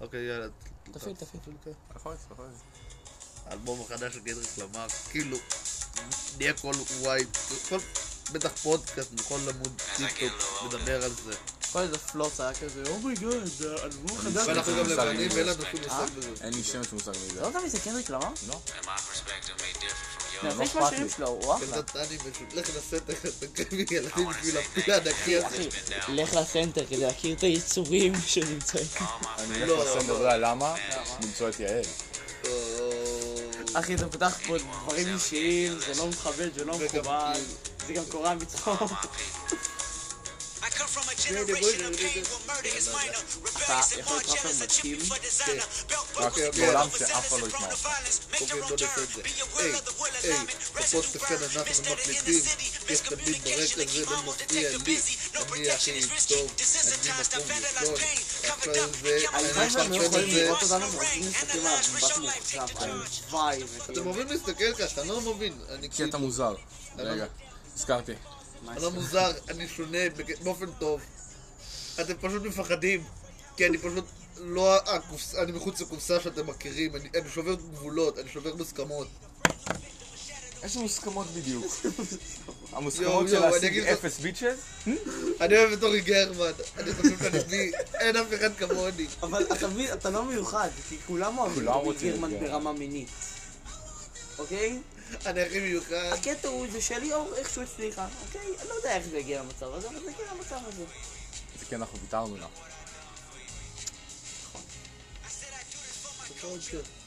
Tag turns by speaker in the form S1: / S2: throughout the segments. S1: אוקיי, יאללה.
S2: תפעיל, תפעיל.
S3: נכון, נכון.
S1: אלבום החדש של קדריק למר, כאילו, נהיה כל וואי, כל, בטח פודקאסט, בכל עמוד טיקטוק, מדבר על זה.
S2: כל איזה פלוץ היה כזה, אומייגאד, זה אלבום חדש. אה?
S1: ואנחנו
S3: אין
S1: גם
S3: לי
S1: לבנים ואין
S3: מושג
S1: לנו שום מושג בזה.
S3: אין לי שמץ מושג מזה.
S2: אתה לא יודע מי זה קנדריק למר?
S3: לא.
S4: And my perspective may differ from
S2: אני
S4: yours.
S2: חושב
S3: אכפת
S2: מהשירים
S3: לי.
S2: שלו, הוא אחלה.
S1: קצת אני פשוט, לך לסטר, תקריבי ילדים בשביל הפיל הענקי הזה.
S2: אחי, לך לסנטר כדי להכיר את היצורים שנמצאים.
S4: All my
S3: אני
S4: family
S3: הולך לסנדר, אתה יודע למה?
S2: למה?
S3: למצוא את יעל.
S1: או-
S2: אחי, אתה פותח פה דברים אישיים, זה לא מכבד, זה לא
S1: וגם
S2: מכובד, זה גם קורה מצחוק.
S4: people.
S5: I come from a
S1: wait,
S5: generation of
S1: wait,
S5: pain
S1: wait.
S5: where murder is minor. Rebellious and
S2: יכול
S5: more
S2: להיות
S5: jealous,
S2: רפר
S5: a chip
S2: מתחיל?
S5: for designer. Belt
S3: רק
S5: buckles,
S3: בעולם שאף
S5: overzealous
S3: אחד לא
S5: and prone to
S3: ישמע.
S5: violence. Make
S1: אוקיי,
S5: your
S1: בוא
S5: own
S1: נעשה
S5: turn.
S1: את זה.
S5: Be your
S1: היי,
S5: will of the will
S1: היי,
S5: alignment. Residue
S1: בפודקאסט כאן אנחנו
S5: burn. Misstead in the
S1: מחליטים,
S5: city.
S1: יש תמיד ברקע
S5: Miscommunication
S1: זה
S5: to keep on will
S1: ומפריע
S5: detect the
S1: לי,
S5: busy. No
S1: אני הכי
S5: protection is risky.
S1: טוב, אני
S5: Desensitized, I
S1: מקום ראשון,
S5: vandalize pain. Covered
S1: אחרי
S5: up,
S1: זה,
S2: הלוואי
S1: אני
S2: שהם
S1: מפרסם
S2: לא
S1: את
S2: יכולים
S1: זה,
S2: לראות אותנו ועובדים מסתכלים עליו מבט מעוצב, הלוואי
S1: אתם
S2: וכאילו.
S1: אוהבים להסתכל ככה, אני לא מבין, אני
S3: כי אתה
S1: כאילו,
S3: מוזר. רגע, הזכרתי.
S2: מה
S1: אני
S2: יש
S1: לא
S2: לך?
S1: מוזר, אני שונה בק- באופן טוב. אתם פשוט מפחדים, כי אני פשוט לא, הקופס- אני מחוץ לקופסה שאתם מכירים, אני אני שובר גבולות, אני שובר מוסכמות.
S3: איזה מוסכמות בדיוק?
S1: יואו,
S3: המוסכמות של
S1: יואו, אני
S3: להשיג
S1: אגיד לך-
S3: אפס ביצ'ס?
S1: אני אוהב את אורי גרמן, אני חושב שאני בי, אין אף אחד כמוני.
S2: אבל אתה מבין, אתה לא מיוחד, כי כולם אוהבים
S3: כולם
S2: את רובי
S3: רוצים את
S2: גירמן
S3: גרמן.
S2: ברמה מינית. אוקיי?
S1: אני הכי מיוחד.
S2: הקטע הוא זה שליאור איכשהו הצליחה, אוקיי? אני לא יודע איך זה הגיע למצב הזה, אבל זה הגיע למצב הזה.
S3: זה כי אנחנו ויתרנו לה.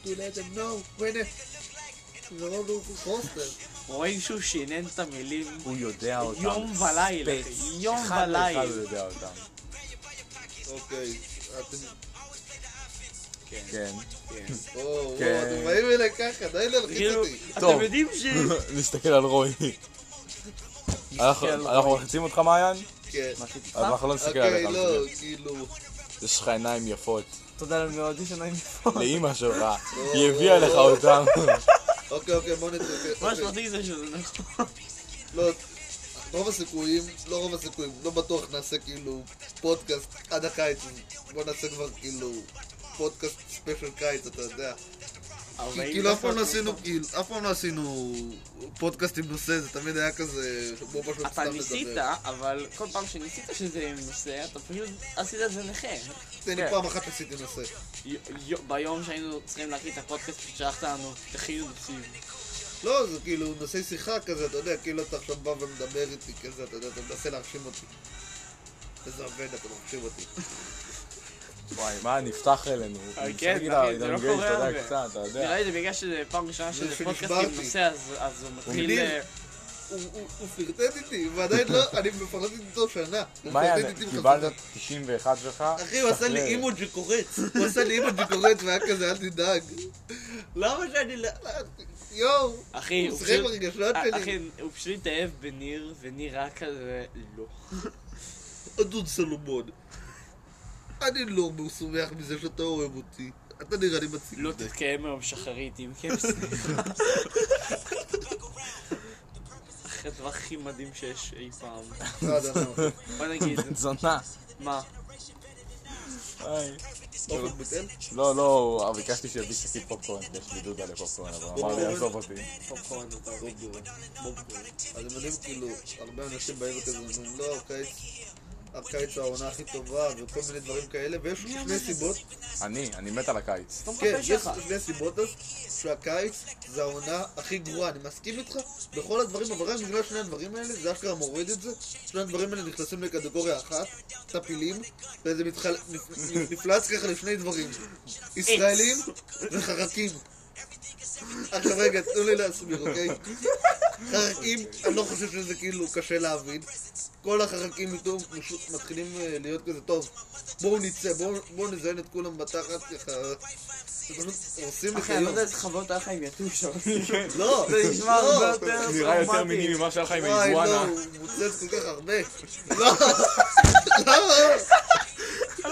S1: To let them know when it- זה לא ברוך הוא חוסר.
S2: רואים שהוא שינן את המילים.
S3: הוא יודע אותם.
S2: יום ולילה,
S3: ספק.
S2: יום
S3: אחד לאחד
S2: ולילה.
S3: הוא יודע אותם.
S1: אוקיי, אתם...
S3: כן.
S1: או, וואו,
S3: כן.
S1: אתם באים אליי ככה, די להלחיץ
S2: כאילו,
S1: אותי.
S2: אתם
S3: טוב.
S2: יודעים ש...
S3: נסתכל על רוי. אנחנו
S2: על רוי.
S3: אנחנו מלחיצים אותך מעיין?
S1: כן.
S3: אז אנחנו לא נסתכל
S1: אוקיי,
S3: עליך.
S1: לא, כאילו...
S3: יש לך עיניים יפות.
S2: תודה לנו מאוד, יש עיניים יפות.
S3: לאימא שלך. היא הביאה לך אותם.
S1: אוקיי, אוקיי, בוא נתרקד.
S2: מה
S1: אוקיי,
S2: שמצחיק זה שזה נכון.
S1: לא, רוב הסיכויים, לא רוב הסיכויים, לא בטוח נעשה כאילו פודקאסט עד הקיץ. בוא נעשה כבר כאילו פודקאסט ספיישל קיץ, אתה יודע. כי כאילו אף פעם לא עשינו, כאילו, אף פעם לא עשינו פודקאסט עם נושא, זה תמיד היה כזה, בוא פשוט
S2: אתה
S1: סתם
S2: ניסית,
S1: לדבר.
S2: אבל כל פעם שניסית שזה עם נושא, אתה פשוט עשית את זה נכה.
S1: תן לי
S3: כן.
S1: פעם אחת עשיתי נושא.
S2: י- י- ביום שהיינו צריכים להקליט את הפודקאסט, שלחת לנו, תכינו נושאים.
S1: לא, זה כאילו נושאי שיחה כזה, אתה יודע, כאילו אתה עכשיו בא ומדבר איתי כזה, אתה יודע, אתה מנסה להרשים אותי. איזה עובד, אתה מרשים אותי.
S3: וואי, מה, נפתח אלינו.
S2: אה,
S3: אני
S2: כן,
S3: משחק איתה,
S2: אחי,
S3: אני
S2: זה לא
S3: מגייס,
S2: קורה
S3: אתה
S2: הרבה.
S3: יודע, קצת, אתה יודע.
S2: נראה לי זה בגלל שזה פעם ראשונה
S1: זה
S2: שזה פודקאסט עם
S1: שנשברתי.
S2: נושא, אז- אז הוא מתחיל...
S1: מגניב.
S2: אה,
S1: הוא- הוא הוא פרטט איתי, ועדיין לא, אני מפרט איתו שנה. הוא פרטט
S3: מעיין,
S1: איתי בחזרה.
S3: קיבלת 91 שלך?
S1: אחי, הוא עשה לי
S3: שחרר.
S1: אימוג'י קורץ. הוא עשה לי אימוג'י קורץ, והיה כזה, אל תדאג. למה שאני לא... יואו,
S2: אחי,
S1: הוא
S2: הוא
S1: משחק
S2: פשוט...
S1: ברגשות
S2: אה,
S1: שלי.
S2: אחי, הוא פשוט התאהב בניר, וניר היה כזה... לא.
S1: אדון סלומון. אני לא משמח מזה שאתה אוהב אותי. אתה נראה לי מציג.
S2: לא תתקיים היום שחרית, אם כן... אחרי הדבר הכי מדהים שיש אי פעם.
S1: לא יודע, לא.
S2: בוא נגיד,
S3: זונה.
S2: מה?
S3: היי.
S1: אורן בוטל?
S3: לא, לא, אבל ביקשתי שיביא שקית פופקורן, כי יש לי דודה לפופקורן, אבל הוא אמר לי, עזוב אותי.
S2: פופקורן אתה
S1: בוב גורן. בוב גורן. אז הם יודעים כאילו, הרבה אנשים באים וכזה אומרים, לא, הקיץ... הקיץ הוא העונה הכי טובה, וכל מיני דברים כאלה, ויש שני סיבות
S3: אני, אני מת על הקיץ.
S2: סתום את
S1: כן,
S2: הפה
S1: יש
S2: לא שלך.
S1: שני סיבות אז שהקיץ זה העונה הכי גרועה, אני מסכים איתך בכל הדברים, אבל רק בגלל שני הדברים האלה, זה אשכרה מוריד את זה, שני הדברים האלה נכנסים לקטגוריה אחת, טפילים, וזה מתחל... נפ- נפלץ ככה לשני דברים, ישראלים וחרקים. עכשיו רגע, תנו לי להסביר, אוקיי? חרקים, אני לא חושב שזה כאילו קשה להבין. כל החרקים פתאום פשוט מתחילים אה, להיות כזה, טוב, בואו נצא, בואו בואו נזיין את כולם בתחת ככה. זה פשוט הורסים לך
S2: אחי, אני לא
S1: יום.
S2: יודע איזה חוויות היה לך עם יתוש, אבל...
S1: לא,
S2: זה נשמע הרבה יותר
S3: זה נראה יותר
S2: טראומטי.
S3: מיני ממה שהיה לך עם
S1: וואי, לא,
S3: האיגואנה.
S1: הוא מוצץ כל כך הרבה. לא,
S2: אני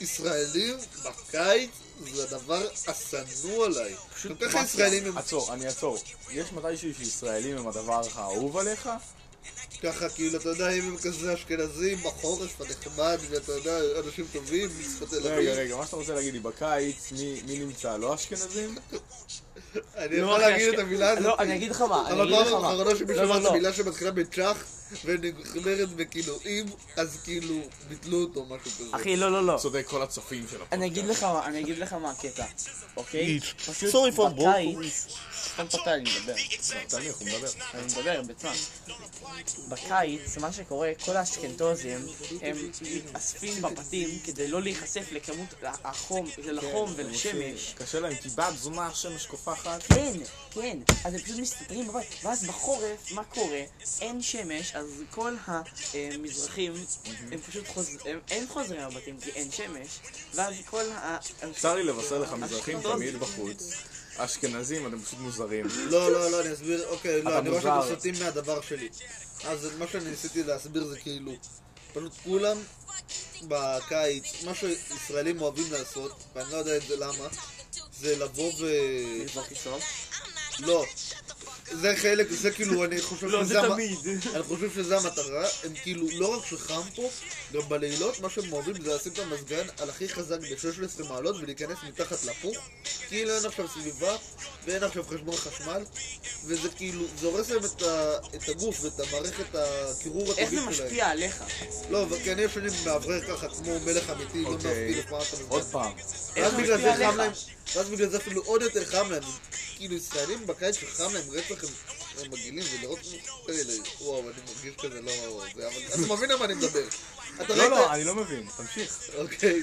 S1: ישראלים בקיץ זה הדבר השנוא עליי. כל
S2: פשוט
S1: כך הישראלים הם
S3: עצור, אני אעצור. יש מתישהו שישראלים הם הדבר האהוב עליך?
S1: ככה, כאילו, אתה יודע, אם הם כזה אשכנזים בחורף הנחמד, ואתה יודע, אנשים טובים, מצפת תל
S3: רגע,
S1: אביב.
S3: רגע, מה שאתה רוצה להגיד לי, בקיץ, מי מי נמצא? לא אשכנזים?
S1: אני
S2: לא,
S1: יכול
S2: אחי,
S1: להגיד את
S2: אשכ-
S1: המילה הזאת.
S2: לא, אני אגיד לך מה, אני
S1: אבל
S2: אגיד לך
S1: פעם
S2: מה.
S1: האחרונה שמישהו
S2: לא,
S1: אמר
S2: לא,
S1: את
S2: לא.
S1: המילה שמתחילה בצ'אח, ונגמרת בכאילו אם, אז כאילו, ביטלו אותו, משהו כזה.
S2: אחי, לא, לא, לא.
S3: צודק כל הצופים שלו.
S2: אני אגיד לך מה, אני אגיד לך מה הקטע, אוקיי?
S1: It's
S2: פשוט
S1: sorry for
S2: בקיץ, סתם פתאי, אני מדבר,
S3: תניח, הוא מדבר.
S2: אני מדבר בצד. בקיץ, מה שקורה, כל האשכנתוזים, הם מתאספים בבתים כדי לא להיחשף לכמות החום, לחום
S3: כן,
S2: ולשמש.
S3: קשה להם, כי בת זונה השמש קופחת.
S2: כן, כן, אז הם פשוט מסתתרים בבית, ואז בחורף, מה קורה? אין שמש, אז כל המזרחים, הם פשוט חוזרים, הם חוזרים מהבתים כי אין שמש, ואז כל ה...
S3: צר לי לבשר לך, מזרחים
S2: אשכנזים.
S3: תמיד בחוץ. אשכנזים, אתם פשוט מוזרים.
S1: לא, לא, לא, אני אסביר, אוקיי,
S3: אתה
S1: לא, אני רואה שאתם
S3: מוזר.
S1: סוטים מהדבר שלי. אז מה שאני ניסיתי להסביר זה כאילו, פשוט כולם בקיץ, מה שישראלים אוהבים לעשות, ואני לא יודע את זה למה, זה לבוא ו...
S2: מזרחי סוף.
S1: לא. זה חלק, זה כאילו, אני חושב
S2: לא,
S1: שזה
S2: זה
S1: המ-
S2: תמיד.
S1: אני חושב שזה המטרה, הם כאילו, לא רק שחם פה, גם בלילות מה שהם אוהבים זה לשים את המזגן על הכי חזק ב-16 מעלות ולהיכנס מתחת לפוך, כאילו אין עכשיו סביבה ואין עכשיו חשבון חשמל, וזה כאילו, זה הורס להם את, ה... את הגוף ואת המערכת הקירור
S2: איך
S1: הטבעי
S2: זה
S1: שלהם.
S2: משפיע עליך?
S1: לא, וכן יש שנים מאוורר ככה כמו מלך אמיתי, לא
S3: אוקיי.
S1: מאפקיד אף פעם את המזגן.
S3: עוד פעם,
S1: ואז
S2: איך זה
S1: בגלל זה
S2: משפיע
S1: חם להם,
S2: עליך?
S1: ואז בגלל זה אפילו עוד יותר חם להם. כאילו ישראלים בקיץ שחם להם רצח הם הם מגעילים ולראות כמו כאלה, וואו, אני מרגיש כזה לא... זה, אבל אתה מבין על מה אני מדבר. אתה
S3: לא,
S1: ראית?
S3: לא, אני לא מבין, תמשיך.
S1: אוקיי.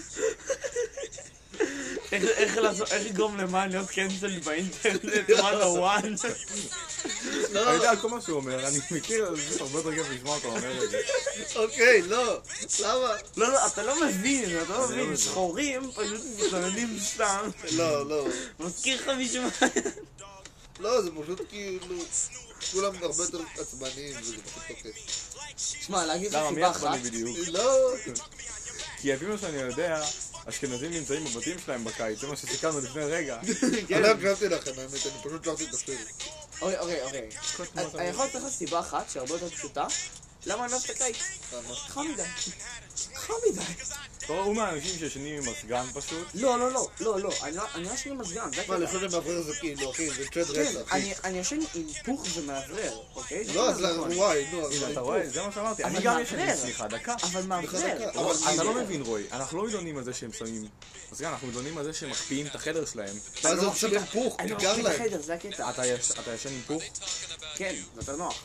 S2: איך- איך לעזור- איך לגרום למען להיות קנצל באינטרנט, וואן וואן?
S1: לא,
S3: אני יודע כל מה שהוא אומר, אני מכיר, זה הרבה יותר כיף לשמוע אותו אומר את זה.
S1: אוקיי, לא. למה?
S2: לא, לא, אתה לא מבין, אתה לא מבין,
S3: מבין.
S2: שחורים פשוט מתלוננים סתם.
S1: לא, לא.
S2: מזכיר לך מישהו?
S1: לא, זה פשוט כאילו... כולם הרבה יותר עצבניים וזה פשוט אוקיי. תוקף.
S2: שמע, להגיד לך
S3: למה, מי
S2: סיבה אחת?
S3: עצבני בדיוק?
S1: לא.
S3: כי לפי מה שאני יודע, אשכנזים נמצאים בבתים שלהם בקיץ, זה מה שסיכמנו לפני רגע.
S1: אני לא הקשבתי לכם, האמת, אני פשוט שרתי את השיר.
S2: אוקיי, אוקיי, אוקיי. אז אני יכול לתת לך סיבה אחת שהיא הרבה יותר פשוטה? למה אני אוהב את הקיץ?
S1: למה?
S2: חם מדי. חם מדי.
S3: אתה רואה, הוא מהאנשים שישנים עם מזגן פשוט.
S2: לא, לא, לא, לא, לא, אני לא- אני לא ישן עם מזגן, זה
S1: מה,
S2: הקטע.
S1: לשון למאוורר זה כאילו, אחי, זה צ'אט
S2: כן,
S1: רצח.
S2: אני- אני ישן עם פוך ומאוורר, אוקיי? זה
S1: לא, אז
S2: נכון.
S1: וואי, נו, אז...
S3: הנה, אתה רואה? זה מה שאמרתי.
S2: אבל
S3: אני גם
S2: מה,
S3: ישן,
S2: אחר?
S3: סליחה, דקה.
S2: אבל מאוורר.
S1: בחזקה.
S3: אבל
S1: אבל
S3: אתה לא
S1: אני-
S3: מבין, רועי, אנחנו לא מתלוננים על זה שהם שמים מזגן, אנחנו מתלוננים על זה שהם מקפיאים את החדר שלהם.
S1: ואז
S2: לא
S1: הם
S2: מחשיב
S1: שמים
S2: את-
S1: פוך,
S2: אני לא
S1: ניכר
S2: מחשיב את
S1: להם.
S2: החדר, זה הקטע.
S3: אתה יש- אתה ישן עם פוך?
S2: כן, יותר נוח.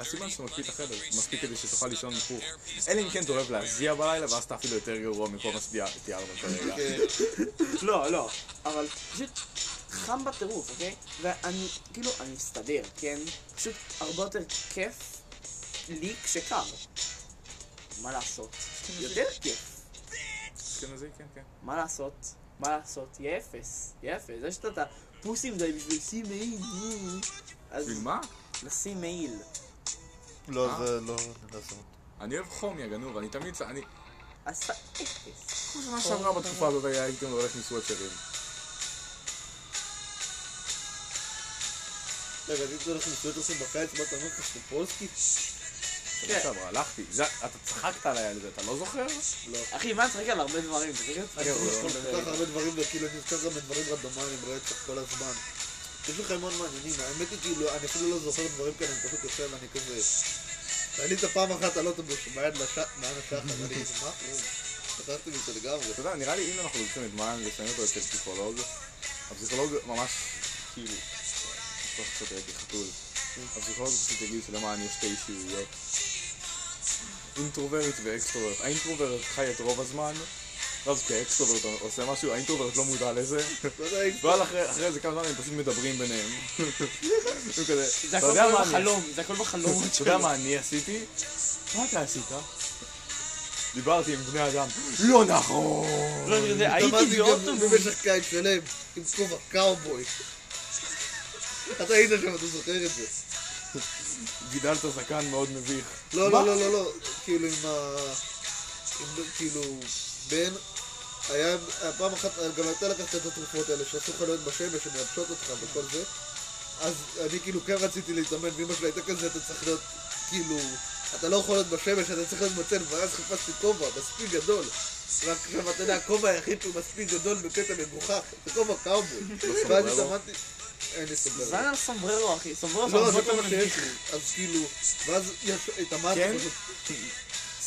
S3: אז סימן שאתה מקפיא את החדר, מספיק כדי שתוכל לישון עם פוך. אלא אם כן אתה אוהב להזיע בלילה, ואז אתה אפילו יותר גרוע מכל מה שתיארנו כרגע.
S1: כן.
S2: לא, לא. אבל פשוט חם בטירוף, אוקיי? ואני, כאילו, אני מסתדר, כן? פשוט הרבה יותר כיף לי כשקר. מה לעשות? יותר כיף.
S3: אשכנזי, כן, כן.
S2: מה לעשות? מה לעשות? יהיה אפס. יהיה אפס. יש את ה- פוסים די בשביל לשים מעיל. אז
S3: בשביל מה?
S2: לשים מעיל.
S1: לא,
S3: אה?
S1: זה לא...
S3: אני אוהב חום, יא גנוב, אני תמיד... אני...
S2: אז אתה אפס.
S3: כל שנה שעברה בתקופה הזאת היה- הייתי הולך עם סוואצ'רים.
S1: רגע, אז אם אתה הולך עם סוויטרסים בקיץ, מה אתה אומר לך שאתה פולסקי?
S3: שנה שעברה, הלכתי. זה- אתה צחקת עליי על זה, אתה לא זוכר?
S1: לא.
S2: אחי, מה נצחק על הרבה דברים? תצחק על
S1: אני
S3: לא.
S1: חושב שאתה כל כך הרבה דברים, וכאילו אני נזכר גם בדברים רנדומליים רצח כל הזמן. יש לכם המון מעניינים, האמת היא כאילו, אני אפילו לא זוכר דברים כאלה, אני פשוט יושב ואני כזה... עלית פעם אחת על אוטובוס, מעל לש- מעל השחר, אני כזה, מה קורה? שכחתי מזה לגמרי.
S3: אתה יודע, נראה לי אם אנחנו לוקחים את מעיין ושמים אותו אצל פסיכולוג, הפסיכולוג ממש כאילו... טוב, קצת הייתי חתול. הפסיכולוג פשוט יגיד שלמען יש שתי אישיויות. אינטרוברט ואקסטרוברט. האינטרוברט חי את רוב הזמן, ואז כאקסטרוברט עושה משהו, האינטרוברט לא מודע לזה.
S1: לא
S3: ואז אחרי אחרי איזה כמה זמן הם פשוט מדברים ביניהם. הם כזה,
S2: זה לא הכל
S3: "אתה יודע מה אני-
S2: בחלום, זה הכל בחלום.
S3: אתה יודע מה אני עשיתי? מה אתה עשית? דיברתי עם בני אדם. לא נכון!
S2: לא, אני יודע, הייתי באוטובוס.
S1: במשך קיץ שלם עם כובע קאובוי. אתה היית שם, אתה זוכר את זה.
S3: גידלת זקן מאוד מביך.
S1: לא,
S3: מה?
S1: לא, לא, לא, לא, כאילו עם ה... עם, כאילו, בן, היה, היה פעם אחת, גם אתה לקחת את התרופות האלה שאסור לך להיות בשמש, שמייבשות אותך וכל זה, אז אני כאילו כן רציתי להתאמן, ואמא שלי הייתה כזה, אתה צריך להיות, כאילו, אתה לא יכול להיות בשמש, אתה צריך להיות מצל, ואז חיפשתי כובע, מספיק גדול. רק עכשיו, אתה יודע, הכובע היחיד שהוא מספיק גדול בקטע מגוחך, זה כובע קאובוי. ואז
S3: סומבררו?
S1: התאמנתי... אין לי סומבררו.
S2: זן על סומבררו, אחי. סומבררו
S1: לא, זה
S2: הרבה
S1: כל
S2: יותר
S1: מה שיש
S2: מביך.
S1: לי. אז כאילו, ואז יש- התאמנתי,
S3: כן?
S1: פשוט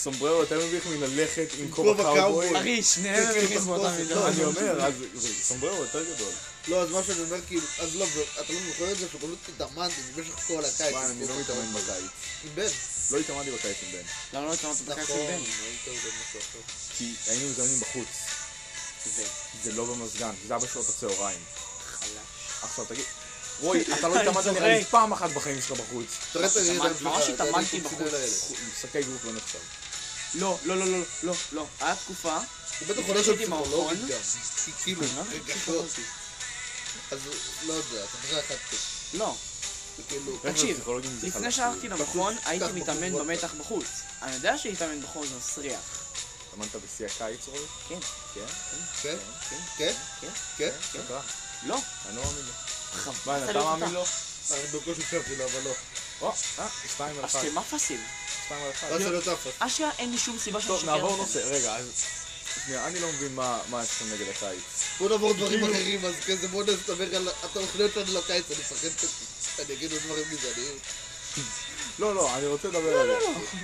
S3: סומבררו יותר מביך מללכת עם
S1: כובע
S3: כובע קאובוי.
S1: קאובוי.
S2: אחי, שניהם
S1: זה כאילו
S2: מביכים באותה
S1: תחפושת,
S2: מידה.
S1: לא,
S3: אני אומר, אז סומבררו יותר גדול.
S1: לא, אז מה שאני אומר, כאילו, אז לא, אתה לא זוכר את זה, שפשוט התאמנתי במשך כל הקיץ.
S3: וואי, אני לא מתאמן בקיץ.
S1: עם בן. נכון.
S3: לא התאמנתי בקיץ עם בן.
S2: למה לא התאמנת בקיץ עם בן?
S3: כי היינו מתאמנים בחוץ.
S2: זה
S3: זה לא במזגן, זה היה בשעות הצהריים.
S2: חלש.
S3: עכשיו תגיד, רועי, אתה לא
S2: אני
S3: התאמנת
S2: צוחק.
S3: נראה לי פעם אחת בחיים שלך בחוץ.
S1: תראה את הידע
S2: ממש
S1: שלך,
S2: התאמנתי
S1: זה היה
S2: בחוץ.
S1: קומפינה לאלה.
S3: משחקי גוף לא נחשב.
S2: לא, לא, לא, לא, לא, לא. היה תקופה.
S1: הוא בטח הולך
S2: הייתי עם
S1: לפסיכולוגית
S2: מערכון.
S1: גם. כי כאילו,
S2: אני לא יודעת איך
S1: רגשות.
S2: זה קרה.
S1: אז לא יודע, אתה מבין אחת כזה.
S2: לא.
S1: וכאילו,
S2: תקשיב,
S3: פסיכולוגים זה
S2: לפני
S3: חלש.
S2: שהלכתי למכון, הייתי
S1: בחוץ,
S2: מתאמן
S1: בחוץ.
S2: במתח בחוץ. אני יודע שלהתאמן בחוץ זה מסריח.
S3: התאמנת בשיא הקיץ, רועי?
S2: כן,
S3: כן?
S1: כן,
S2: כן,
S1: כן,
S2: כן.
S1: כן.
S3: שקרה.
S2: לא.
S3: אני לא מאמין לו.
S2: חבל
S3: מה,
S2: על
S3: אתה מאמין
S2: הזמן.
S3: לו?
S1: אני בקושי הקשבתי לו, אבל לא.
S3: או, אה, שתיים על אחד.
S2: אשכמה פסים.
S3: שתיים על אחד.
S1: ואז אני לא טפה.
S2: אשכרה אין לי שום סיבה שאני
S3: טוב,
S2: אשקר.
S3: נעבור
S2: לכם.
S3: נושא. רגע, אז... שנייה, אני לא מבין מה מה יש לכם נגד הקיץ.
S1: בוא נעבור דברים
S2: כאילו-
S1: אחרים, אז כזה בוא נסתבר על התוכניות שלנו לקיץ, אני מפחד שאני אגיד עוד דברים גזעניים.
S3: לא, לא, אני רוצה לדבר על
S2: לא,
S3: זה.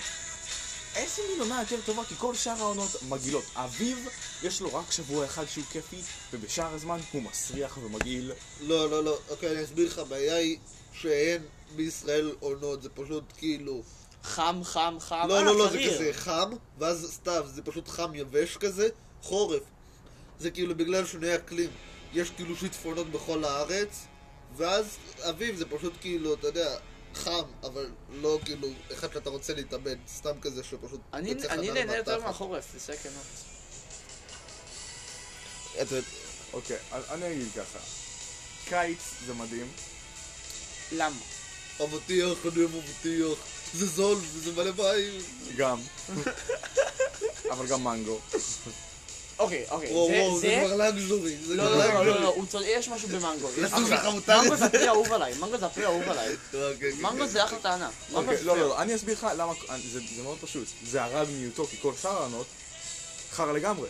S3: איזה מין עונה יותר טובה, כי כל שאר העונות מגעילות. האביב, יש לו רק שבוע אחד שהוא כיפי, ובשאר הזמן הוא מסריח ומגעיל.
S1: לא, לא, לא, אוקיי, אני אסביר לך, הבעיה היא שאין בישראל עונות, זה פשוט כאילו...
S2: חם, חם, חם. אה,
S1: לא,
S2: על
S1: לא, לא, זה
S2: הקריר.
S1: כזה חם, ואז סתיו, זה פשוט חם יבש כזה, חורף. זה כאילו בגלל שינוי אקלים, יש כאילו שיטפונות בכל הארץ, ואז אביב זה פשוט כאילו, אתה יודע, חם, אבל לא כאילו אחד שאתה רוצה להתאבד, סתם כזה שפשוט...
S2: אני-
S1: יוצא
S2: אני
S1: חלל
S2: נהנה יותר
S1: מהתחת.
S2: מהחורף, זה כנות.
S3: אוקיי, אז אני אגיד ככה. קיץ זה מדהים.
S2: למה?
S1: אבטיח, אני אוהב אבטיח, זה זול, וזה מלא מים.
S3: גם. אבל גם מנגו.
S2: אוקיי, אוקיי.
S1: וואו,
S2: זה-
S1: וואו, זה
S2: זה...
S1: כבר לגזורי, זה
S2: לא,
S1: כבר
S2: לא, לא,
S1: לגזורי.
S2: לא, לא, הוא צודק, יש משהו במנגו. יש-
S1: לסוג לך מותר.
S2: מנגו זה הפרי האהוב עליי, מנגו זה הפרי האהוב עליי.
S1: לא, כן, כן,
S2: מנגו
S1: כן.
S2: זה אחלה טענה. מנגו
S3: אוקיי,
S2: זה
S3: לא,
S2: פרי.
S3: לא, לא, אני אסביר לך למה, זה, זה מאוד פשוט. זה הרע במיעוטו, כי כל שאר העונות חרא לגמרי.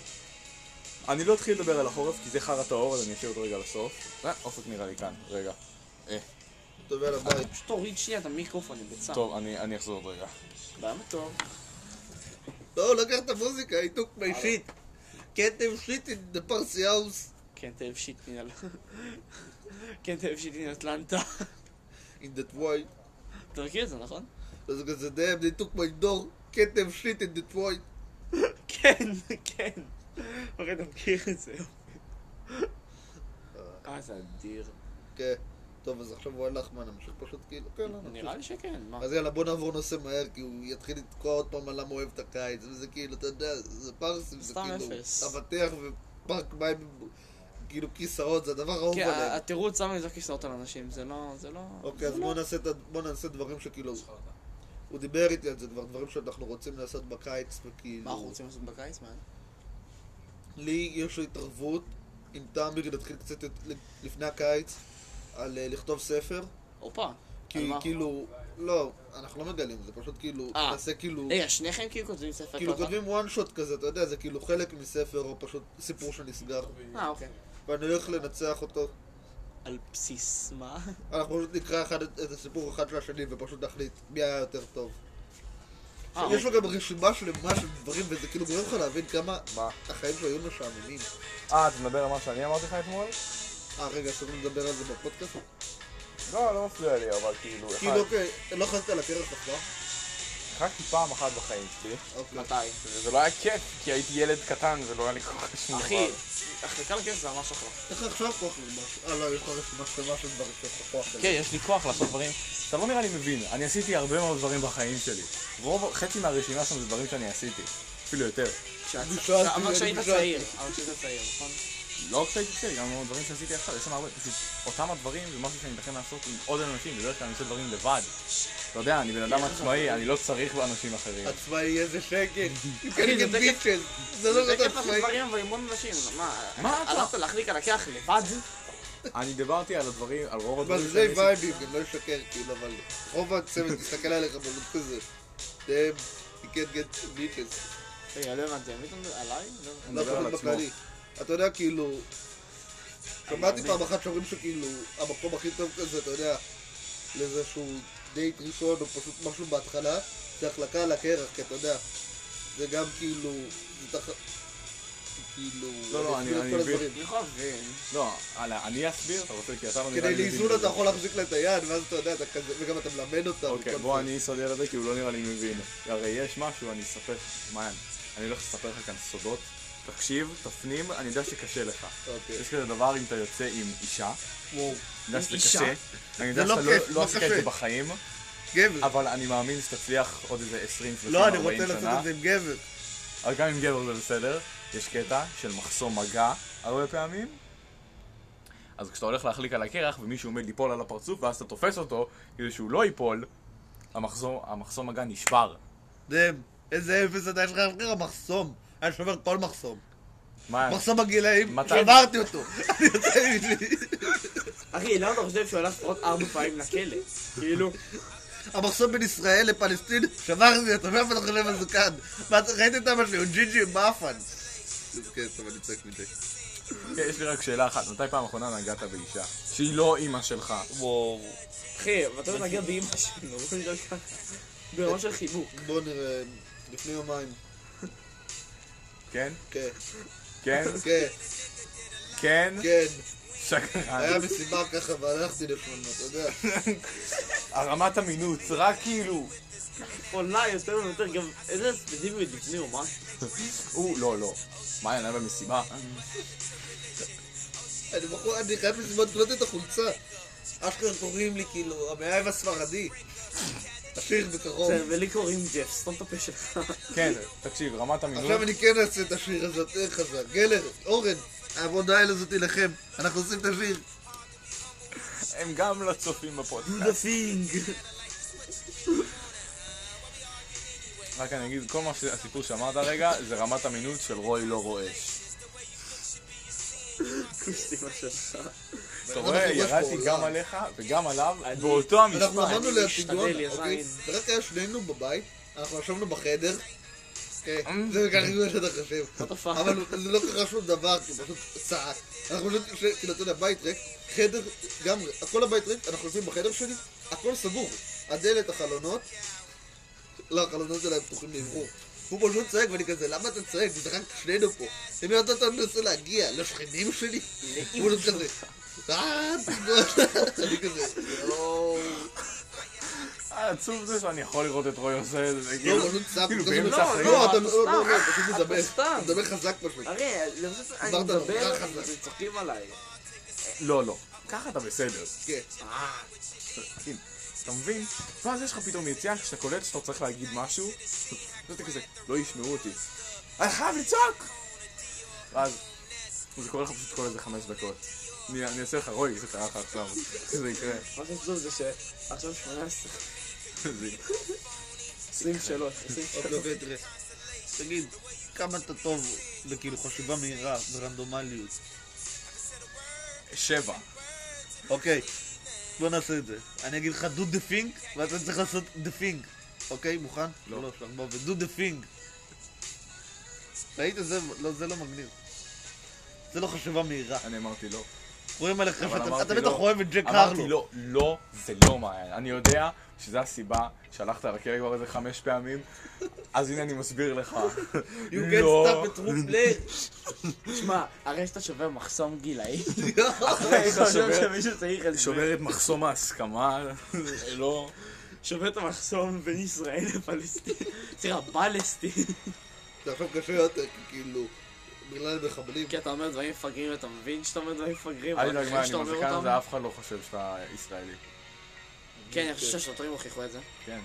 S3: אני לא אתחיל לדבר על החורף, כי זה חרא טהור, אז אני אשאיר אותו רגע לסוף. אה, אופק נראה לי כאן, רגע. אה,
S1: טוב, יאללה, ביי.
S2: פשוט תוריד שנייה את המיקרופון לבצע.
S3: טוב, אני, אני אחזור עוד רגע.
S2: למה טוב?
S1: לא, הוא לקח את המוזיקה, he took my shit. Can't have shit in the parsi house,
S2: כן, תאב שיט מנהל. כן, תאב שיט מנהל אטלנטה.
S1: in that way.
S2: אתה מכיר את זה, נכון?
S1: אז כזה, damn, they took my door, can't have shit in that way.
S2: כן, כן. אוקיי, אתה מכיר את זה. אה, זה אדיר.
S1: כן. טוב, אז עכשיו הוא הלך, מה, נמשיך פשוט כאילו? כן, לא, נמשיך.
S2: נראה לי שכן, מה?
S1: אז יאללה, בוא נעבור נושא מהר, כי הוא יתחיל לתקוע עוד פעם על למה הוא אוהב את הקיץ, וזה כאילו, אתה יודע, זה פרסים, זה
S2: סתם
S1: כאילו,
S2: אפס.
S1: אבטיח ופארק מים, עם, כאילו כיסאות, זה הדבר האהוב
S2: כן,
S1: עליהם.
S2: התירוץ למה לזרוק כיסאות על אנשים, זה לא... זה לא...
S1: אוקיי, אז בוא נעשה את ה- בוא נעשה דברים שכאילו... הוא דיבר איתי על זה כבר, דברים שאנחנו רוצים לעשות בקיץ, וכאילו...
S2: מה אנחנו רוצים לעשות בקיץ, מה?
S1: לי יש התערבות עם תמיר להתחיל קצת את- לפני הקיץ על אה, לכתוב ספר.
S2: הופה. על
S1: כי
S2: מה?
S1: כאילו, לא, אנחנו לא מגלים, זה פשוט כאילו,
S2: אה.
S1: נעשה כאילו,
S2: רגע, שניכם כאילו כותבים ספר
S1: כאילו
S2: כל אחד?
S1: כותבים one shot כזה, אתה יודע, זה כאילו חלק מספר או פשוט סיפור שנסגר.
S2: אה, אוקיי.
S1: ואני הולך לנצח אותו.
S2: על בסיס מה?
S1: אנחנו פשוט נקרא אחד את את הסיפור אחד של השני ופשוט נחליט מי היה יותר טוב.
S2: אה,
S1: יש לו גם רשימה שלמה של דברים, וזה כאילו גורם לך להבין כמה
S3: מה?
S1: החיים שלו היו משעממים.
S3: אה, אתה מדבר על מה שאני אמרתי לך אתמול?
S1: אה, רגע, אסור לדבר על זה בפודקאסט?
S2: אה.
S3: לא, לא מפריע לי, אבל כאילו, אחד.
S1: כאילו, אוקיי, לא חזרת על הקרח אף פעם?
S3: שיחקתי פעם אחת בחיים שלי,
S1: אוקיי.
S2: מתי?
S3: וזה לא היה כיף, כי הייתי ילד קטן ולא היה לי כוח לשום
S2: אחי,
S3: דבר.
S2: החלקה לכיף זה ממש אחלה.
S1: איך עכשיו כוח למשהו? אה, לא, יש לך רשימה שלמה של דברים שיש לך כוח
S3: כן,
S1: לזה.
S3: יש לי כוח לעשות דברים. אתה לא נראה לי מבין, אני עשיתי הרבה מאוד דברים בחיים שלי. רוב, חצי מהרשימה שם זה דברים שאני עשיתי. אפילו יותר.
S2: כשאת-
S1: בישלתי,
S2: אתה אמרת
S1: אני
S2: שהיית
S1: בישלתי.
S2: צעיר, אמרת שהיית צעיר, נכון?
S3: לא רק שהייתי צעיר, גם דברים שעשיתי עכשיו, יש שם הרבה, פשוט אותם הדברים זה משהו שאני מתכן לעשות עם עוד אנשים, בדרך כלל אני עושה דברים לבד. אתה יודע, אני בן אדם עצמאי, אני לא צריך באנשים אחרים.
S1: עצמאי איזה שקט. You
S2: אחי,
S1: can
S2: זה
S1: get
S2: תקף-
S1: bitches. זה לא
S2: זה
S1: כזה
S2: כיף לעשות
S1: עצמאי.
S2: דברים אבל עם המון אנשים, מה?
S3: מה אתה?
S2: הלכת להחליק על הקרח לבד?
S3: אני דיברתי על הדברים, על רוב
S1: אבל
S3: הדברים
S1: זה
S3: שאני עשיתי.
S1: וייבים, גם לא לשקר, כאילו, אבל רוב הצוות מסתכל עליך בלוד כזה. "Damn, you can't get bitches.
S2: רגע, לא הבנתי, עמית עליי? לא הבנתי.
S1: לא
S3: מדבר על
S1: חושב
S3: עצמו.
S1: בכללי. אתה יודע, כאילו... שמעתי
S3: מאמין.
S1: פעם אחת שאומרים שכאילו, המקום הכי טוב כזה, אתה יודע, לאיזשהו דייט ראשון, או פשוט משהו בהתחלה, זה החלקה על הקרח, כי אתה יודע, זה גם כאילו... זה תח... כאילו...
S3: לא, לא, אני-
S1: אסביר את
S3: אני
S1: כל
S3: מבין.
S1: הדברים.
S2: אני יכול להבין.
S3: לא, הלאה, אני אסביר, אתה רוצה, כי אתה לא נראה לי...
S1: כדי
S3: מבין
S1: לאיזון
S3: בזה.
S1: אתה יכול להחזיק לה את היד, ואז אתה יודע, אתה כזה, וגם אתה מלמד אותה.
S3: אוקיי,
S1: וכל
S3: בוא
S1: זה.
S3: אני אסדר את זה, כי הוא לא נראה לי מבין. הרי יש משהו, אני אספר לך, מעיין, אני הולך לספר לך כאן סודות. תקשיב, תפנים, אני יודע שקשה לך.
S1: אוקיי.
S3: יש כזה דבר אם אתה יוצא עם אישה,
S1: וואו.
S3: אני יודע
S2: עם
S3: שזה
S2: אישה?
S3: קשה, אני יודע
S1: זה לא
S3: שאתה
S1: כיף,
S3: לא-
S1: לא
S3: לא עשית את
S1: קשה.
S3: זה בחיים,
S1: גבר.
S3: אבל אני מאמין שתצליח עוד איזה 20, 30,
S1: לא, אני
S3: 40
S1: רוצה לעשות
S3: שנה.
S1: את זה עם גבר.
S3: אבל גם עם גבר זה בסדר. יש קטע של מחסום מגע הרבה פעמים. אז כשאתה הולך להחליק על הקרח ומישהו עומד ליפול על הפרצוף ואז אתה תופס אותו כדי שהוא לא ייפול, המחסום, המחסום מגע נשבר.
S1: דאם, איזה אפס אתה יש לך אחר המחסום. אני שומר כל מחסום.
S3: מה?
S1: מחסום הגילאים,
S3: מתי?
S1: שמרתי אותו. אני יוצא מבלי.
S2: אחי, למה אתה חושב שהוא הלך עוד ארבע פעמים לכלא? כאילו,
S1: המחסום בין ישראל לפלסטין, שמרתי אותו, מאיפה אתה חושב על זה כאן? מה, ראית את אבא שלי, הוא ג'ינג'י עם מאפן. כן, טוב, אני צועק מדי.
S3: כן, יש לי רק שאלה אחת, מתי פעם אחרונה נגעת באישה? שהיא לא אימא שלך.
S1: וואו.
S2: אחי, ואתה מתנגד באמא שלנו, לא נראה ככה. ברמה של חיבוק.
S1: בוא נראה, לפני יומיים.
S3: כן?
S1: כן,
S3: כן?
S1: כן,
S3: כן?
S1: כן.
S3: שקרן.
S1: היה מסיבה ככה והלכתי לפנות, אתה יודע.
S3: הרמת אמינות, רק כאילו...
S2: עולה יותר ויותר, גם איזה ספציפית לפני או משהו.
S3: הוא, לא, לא. מה, היה במסיבה?
S1: אני בחור, אני חייב לזמן קלוט את החולצה. אשכרה קוראים לי כאילו, המאהב הספרדי. השיר בכחול.
S2: זה, כן, ולי קוראים ג'ף, סתום את הפה שלך.
S3: כן, תקשיב, רמת אמינות...
S1: עכשיו אני כן אעשה את השיר הזה, יותר חזק. גלר, אורן, העבודה האלה זאת אליכם. אנחנו עושים את השיר.
S3: הם גם לא צופים בפודקאסט.
S2: The thing.
S3: רק אני אגיד, כל מה שהסיפור שאמרת הרגע, זה רמת אמינות של רוי לא רועש.
S2: כוסטימה שלך.
S3: אתה רואה,
S1: אנחנו ממש
S3: ירדתי
S1: בעולם.
S3: גם עליך וגם עליו, באותו
S1: אנחנו
S3: המשפט.
S1: עמדנו ליד פיגון,
S2: משתדל,
S1: אוקיי?
S2: יזין.
S1: זה רק היה שנינו בבית, אנחנו ישבנו בחדר. אה, זה ככה מה שאתה חושב.
S2: Mm. the fuck?
S1: אבל זה לא קרה שום דבר, כי הוא פשוט צעק. אנחנו פשוט, יושבים, כאילו, אתה יודע, בית ריק, חדר, גם, כל הבית ריק, אנחנו יושבים בחדר שלי, הכל סגור. הדלת, החלונות, לא, החלונות שלהם פתוחים לאוורור. הוא פשוט צועק, ואני כזה, למה אתה צועק? זה רק שנינו פה. למי עוד אתה מנסה להגיע? לשכנים שלי? הוא פשוט כזה, אה, פיגון. אני כזה, יואו.
S3: עצוב זה שאני יכול לראות את רוי עושה את זה,
S1: לא,
S3: כאילו,
S1: הוא פשוט צעק.
S3: כאילו
S1: כזה,
S3: באמצע
S1: לא,
S3: החיים.
S1: לא,
S2: אתה
S1: אתה לא, לא,
S2: סתם.
S1: לא, פשוט
S2: אתה
S1: מדבר.
S2: סתם.
S1: מדבר חזק פשוט.
S2: הרי, אני חושב שאני
S1: דיברת
S2: מדבר,
S1: נורא חזק.
S2: אתם צוחקים עליי.
S3: לא, לא. ככה אתה בסדר.
S1: כן.
S2: אה,
S3: כאילו, אתה מבין? ואז יש לך פתאום יציאה, כשאתה קולט שאתה צריך להגיד משהו, אז אתה כזה, לא ישמעו אותי. אני חייב לצעוק! ואז, זה קורה לך פשוט כל איזה חמש דקות. אני אני אעשה לך רוי, זה קרה לך עכשיו. זה יקרה.
S2: מה שעצוב זה שעכשיו 18,
S3: זה יקרה.
S2: 23, 23.
S1: אוקיי, אוקיי, תראה. תגיד, כמה אתה טוב בכאילו חשיבה מהירה ורנדומליות.
S3: שבע.
S1: אוקיי, בוא נעשה את זה. אני אגיד לך do the thing, ואתה צריך לעשות the thing. אוקיי, מוכן?
S3: לא.
S1: שלוש, ארבע, ו- do the thing. ראית? זה לא- זה לא מגניב. זה לא חשיבה מהירה.
S3: אני אמרתי לא.
S1: רואים עליך
S3: אבל
S1: שאתה
S3: אמרתי
S1: אתה
S3: לא.
S1: בטח אוהב את ג'ק
S3: אמרתי
S1: הרלו.
S3: לא, לא, זה לא מעיין. אני יודע שזו הסיבה שהלכת על הכלא כבר איזה חמש פעמים, אז הנה אני מסביר לך.
S1: You can't
S3: לא.
S1: stop a true player.
S2: שמע, הרי שאתה שובר מחסום גילאי.
S3: אחרי
S2: אני
S3: שאתה
S2: חושב
S3: שובר-
S2: שמישהו צריך את זה.
S3: שובר את מחסום ההסכמה, לא.
S2: שווה את המחסום בין ישראל לפלסטין. סליחה, פלסטין.
S1: זה עכשיו קשה יותר, כי כאילו, בגלל המחבלים.
S2: כי אתה אומר דברים מפגרים, אתה מבין שאתה אומר דברים מפגרים,
S3: אל
S2: אבל
S3: תדאג
S2: אחרי
S3: מה, אני
S2: שאתה אומר
S3: מזכיר
S2: אותם...
S3: לזה, אף אחד לא חושב שאתה ישראלי.
S2: כן, אני חושב שהשוטרים הוכיחו את זה.
S3: כן.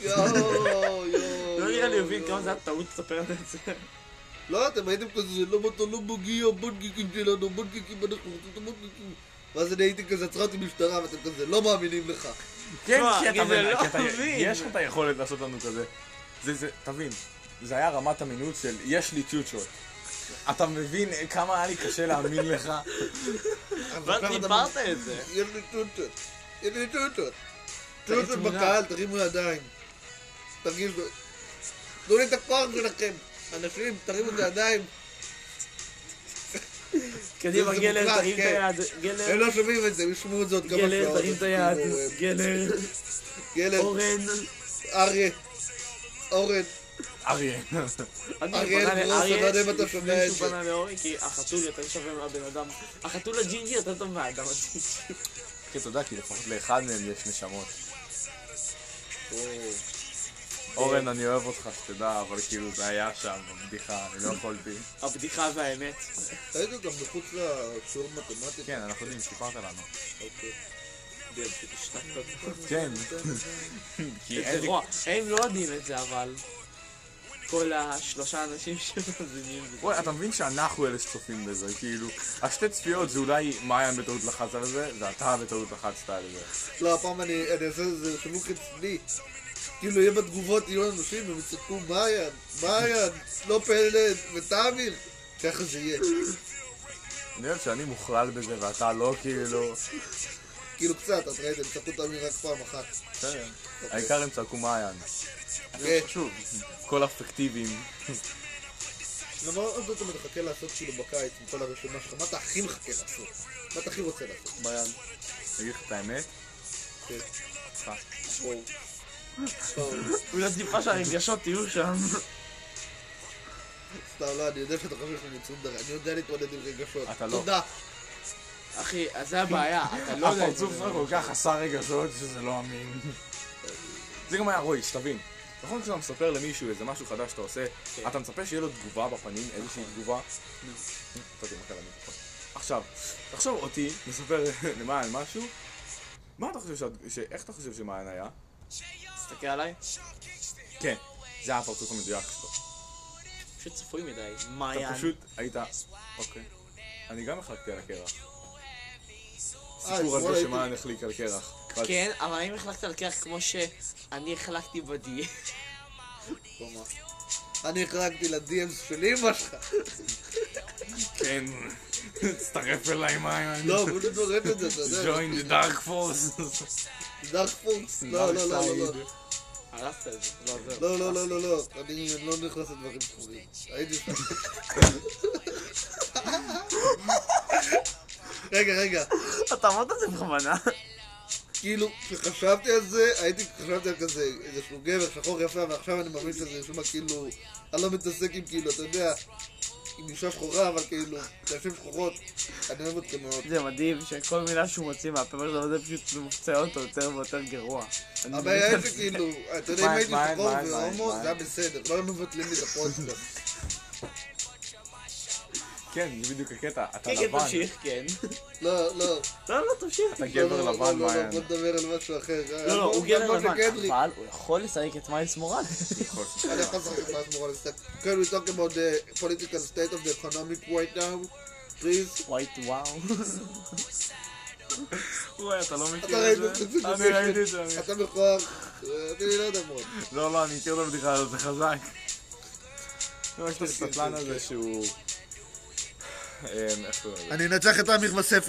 S1: יואו, יואו.
S2: לא נראה לי
S1: יואו,
S2: מבין
S1: יואו.
S2: כמה זה היה טעות לספר את זה.
S1: לא, אתם הייתם כזה, למה אתה לא מגיע, בונקיקים שלנו, בונקיקים, אנחנו רוצים את הבונקיקים. ואז אני הייתי כזה, עצרה אותי משטרה, ואתם כזה, לא מאמינים לך.
S3: כן,
S2: תשמע,
S3: כי אתה
S2: אני זה
S3: מבין,
S2: לא
S3: כי אתה-
S2: מבין.
S3: יש לך את היכולת לעשות לנו כזה. זה, זה, תבין, זה היה רמת אמינות של יש לי צ'וצ'ות. אתה מבין כמה היה לי קשה להאמין לך?
S2: ואז דיברת את זה.
S1: יש לי טוטות. יש לי טוטות.
S2: תגיד
S1: טוטות
S2: תמונה.
S1: בקהל, תרימו ידיים. תרגישו. תנו לי את הכוח שלכם. אנשים, תרימו את הידיים.
S2: קדימה,
S1: זה
S2: גלר,
S1: מוקלט,
S2: תרים את
S1: כן.
S2: היד. גלר,
S1: הם לא שומעים את זה, הם ישמעו את זה עוד כן. כמה שעות.
S2: גלר, תרים את היד.
S1: אז כאילו,
S2: גלר,
S1: אה, גלר,
S2: אורן.
S1: אריה. אורן.
S3: אריה.
S2: אני
S1: אריאל
S2: פנה
S1: גרוס,
S2: לאריה,
S1: אני לא יודע אם אתה שומע
S2: לפני
S1: את
S2: שהוא
S1: זה.
S2: פנה לאורי, כי החתול יותר שווה מהבן אדם. החתול הג'ינג'י יותר טוב מהאדם הג'ינג'י.
S3: כן, אתה יודע, כי לפחות לאחד מהם יש נשמות. אה. אורן, אני אוהב אותך, שתדע, אבל כאילו זה היה שם, הבדיחה, אני לא יכולתי.
S2: הבדיחה והאמת.
S1: היינו גם מחוץ לשיעור מתמטיקה.
S3: כן, אנחנו יודעים, סיפרת לנו.
S1: אוקיי.
S3: כן. כי
S2: זה
S3: אין לי...
S2: רוע. הם לא יודעים את זה, אבל... כל השלושה אנשים שמאזינים לזה.
S3: וואי, אתה מבין שאנחנו אלה שצופים בזה, כאילו, השתי צפיות זה אולי מעיין בטעות לחץ על זה, ואתה בטעות לחצת על זה.
S1: לא, הפעם אני אני אעשה איזה חינוך רציני. כאילו, יהיה בתגובות, יהיו אנשים, הם יצעקו מעיין, מעיין, לא פלד, ותאמיר. ככה זה יהיה.
S3: אני אוהב שאני מוכלל בזה ואתה לא, כאילו...
S1: כאילו קצת, את ראית, הם צעקו תאמיר רק פעם אחת.
S3: בסדר. העיקר הם צעקו מעיין.
S1: כן.
S3: שוב, כל הפיקטיביים.
S1: למה עוד אתה מחכה לעשות כאילו בקיץ, עם כל הרשימה שלך? מה אתה הכי מחכה לעשות? מה אתה הכי רוצה לעשות?
S3: מעיין. אגיד לך את האמת?
S1: כן.
S3: אה.
S1: וואו. וואו.
S2: אולי טיפה שהרגשות יהיו שם.
S1: סתם, לא, אני יודע שאתה חושב שאני צונדר, אני יודע להתמודד עם רגשות.
S3: אתה לא.
S1: תודה.
S2: אחי, אז זה הבעיה, אתה
S1: אה,
S2: לא יודע...
S3: הפרצוף שלך כל כך חסר רגשות שזה לא אמין. זה גם היה רוי, שתבין. נכון כשאתה מספר למישהו איזה משהו חדש שאתה עושה, אתה מצפה שיהיה לו תגובה בפנים, איזושהי תגובה. נתתי מכה למיקרופון. עכשיו, תחשוב אותי, מספר למען משהו, מה אתה חושב שאת- ש... איך אתה חושב שמען היה?
S2: תסתכל עליי,
S3: כן, זה היה הפרצוף המדויק שלו.
S2: פשוט צפוי מדי.
S3: אתה
S2: מעיין.
S3: פשוט היית... אוקיי. אני גם החלקתי על הקרח.
S1: אה,
S3: סיפור על
S1: אתמול
S3: זה
S1: הייתי-
S3: שמען החליק על קרח.
S2: כן, אבל האם החלקת על קרח כמו שאני החלקתי בדי?
S1: כלומר, אני החרגתי לדי.אמס של אמא שלך.
S3: כן, תצטרף אליי מעיין.
S1: לא, אבל הוא זורק את זה, אתה יודע.
S3: the dark force.
S1: דארק פורקס. לא, לא, לא, לא, לא.
S2: הרסת את זה. לא, זהו.
S1: לא, לא, לא, לא, לא. אני אני לא נכנס לדברים שחורים. הייתי שם. רגע, רגע.
S2: לא, אתה אמרת את זה בכוונה.
S1: כאילו, כשחשבתי על זה, הייתי, חשבתי על כזה, איזשהו גבר שחור יפה, ועכשיו אני מאמין שזה נשמע כאילו, אני לא מתעסק עם כאילו, אתה יודע, עם אישה שחורה, אבל כאילו, נשים שחורות, אני אוהב אתכם מאוד.
S2: זה מדהים שכל מילה שהוא מוציא מהפה שלו זה פשוט מופצע אותו יותר ויותר גרוע. אני
S1: הבעיה
S2: מבין.
S1: היא שכאילו, כאילו, אתה יודע, אם
S3: מה,
S1: הייתי
S3: מה,
S1: שחור
S3: מה,
S1: והומו,
S3: מה,
S1: זה
S3: מה?
S1: היה בסדר, לא היינו מבטלים לי את הפודקאסט.
S3: כן, זה בדיוק הקטע, אתה
S2: כן, כן,
S3: לבן.
S2: תמשיך, כן.
S1: לא, לא.
S2: לא, לא, תמשיך.
S3: אתה
S1: לא, לא,
S3: גבר
S1: לא,
S3: לבן,
S1: לא, לא,
S3: מעיין.
S1: בוא נדבר על משהו אחר.
S2: לא, לא, הוא גבר לבן,
S1: אני
S2: אבל הוא יכול לשחק את מיילס מוראלס.
S1: יכול לשחק עם מאז מורלס. כן, we talk about the political state of the economic right now, please.
S2: וואי, וואו.
S3: וואי, אתה לא
S1: אתה
S3: מכיר
S1: ראית
S3: את זה?
S1: את זה?
S3: אני ראיתי את זה.
S2: אה.
S3: אני-
S1: אתה מכוער, אני לא יודע מאוד.
S3: לא, לא, אני מכיר את הבדיחה הזאת, זה חזק. לא, יש את הסטלן הזה שהוא... אמ, איך קוראים לזה?
S1: אני אנצח את אמיר בספר.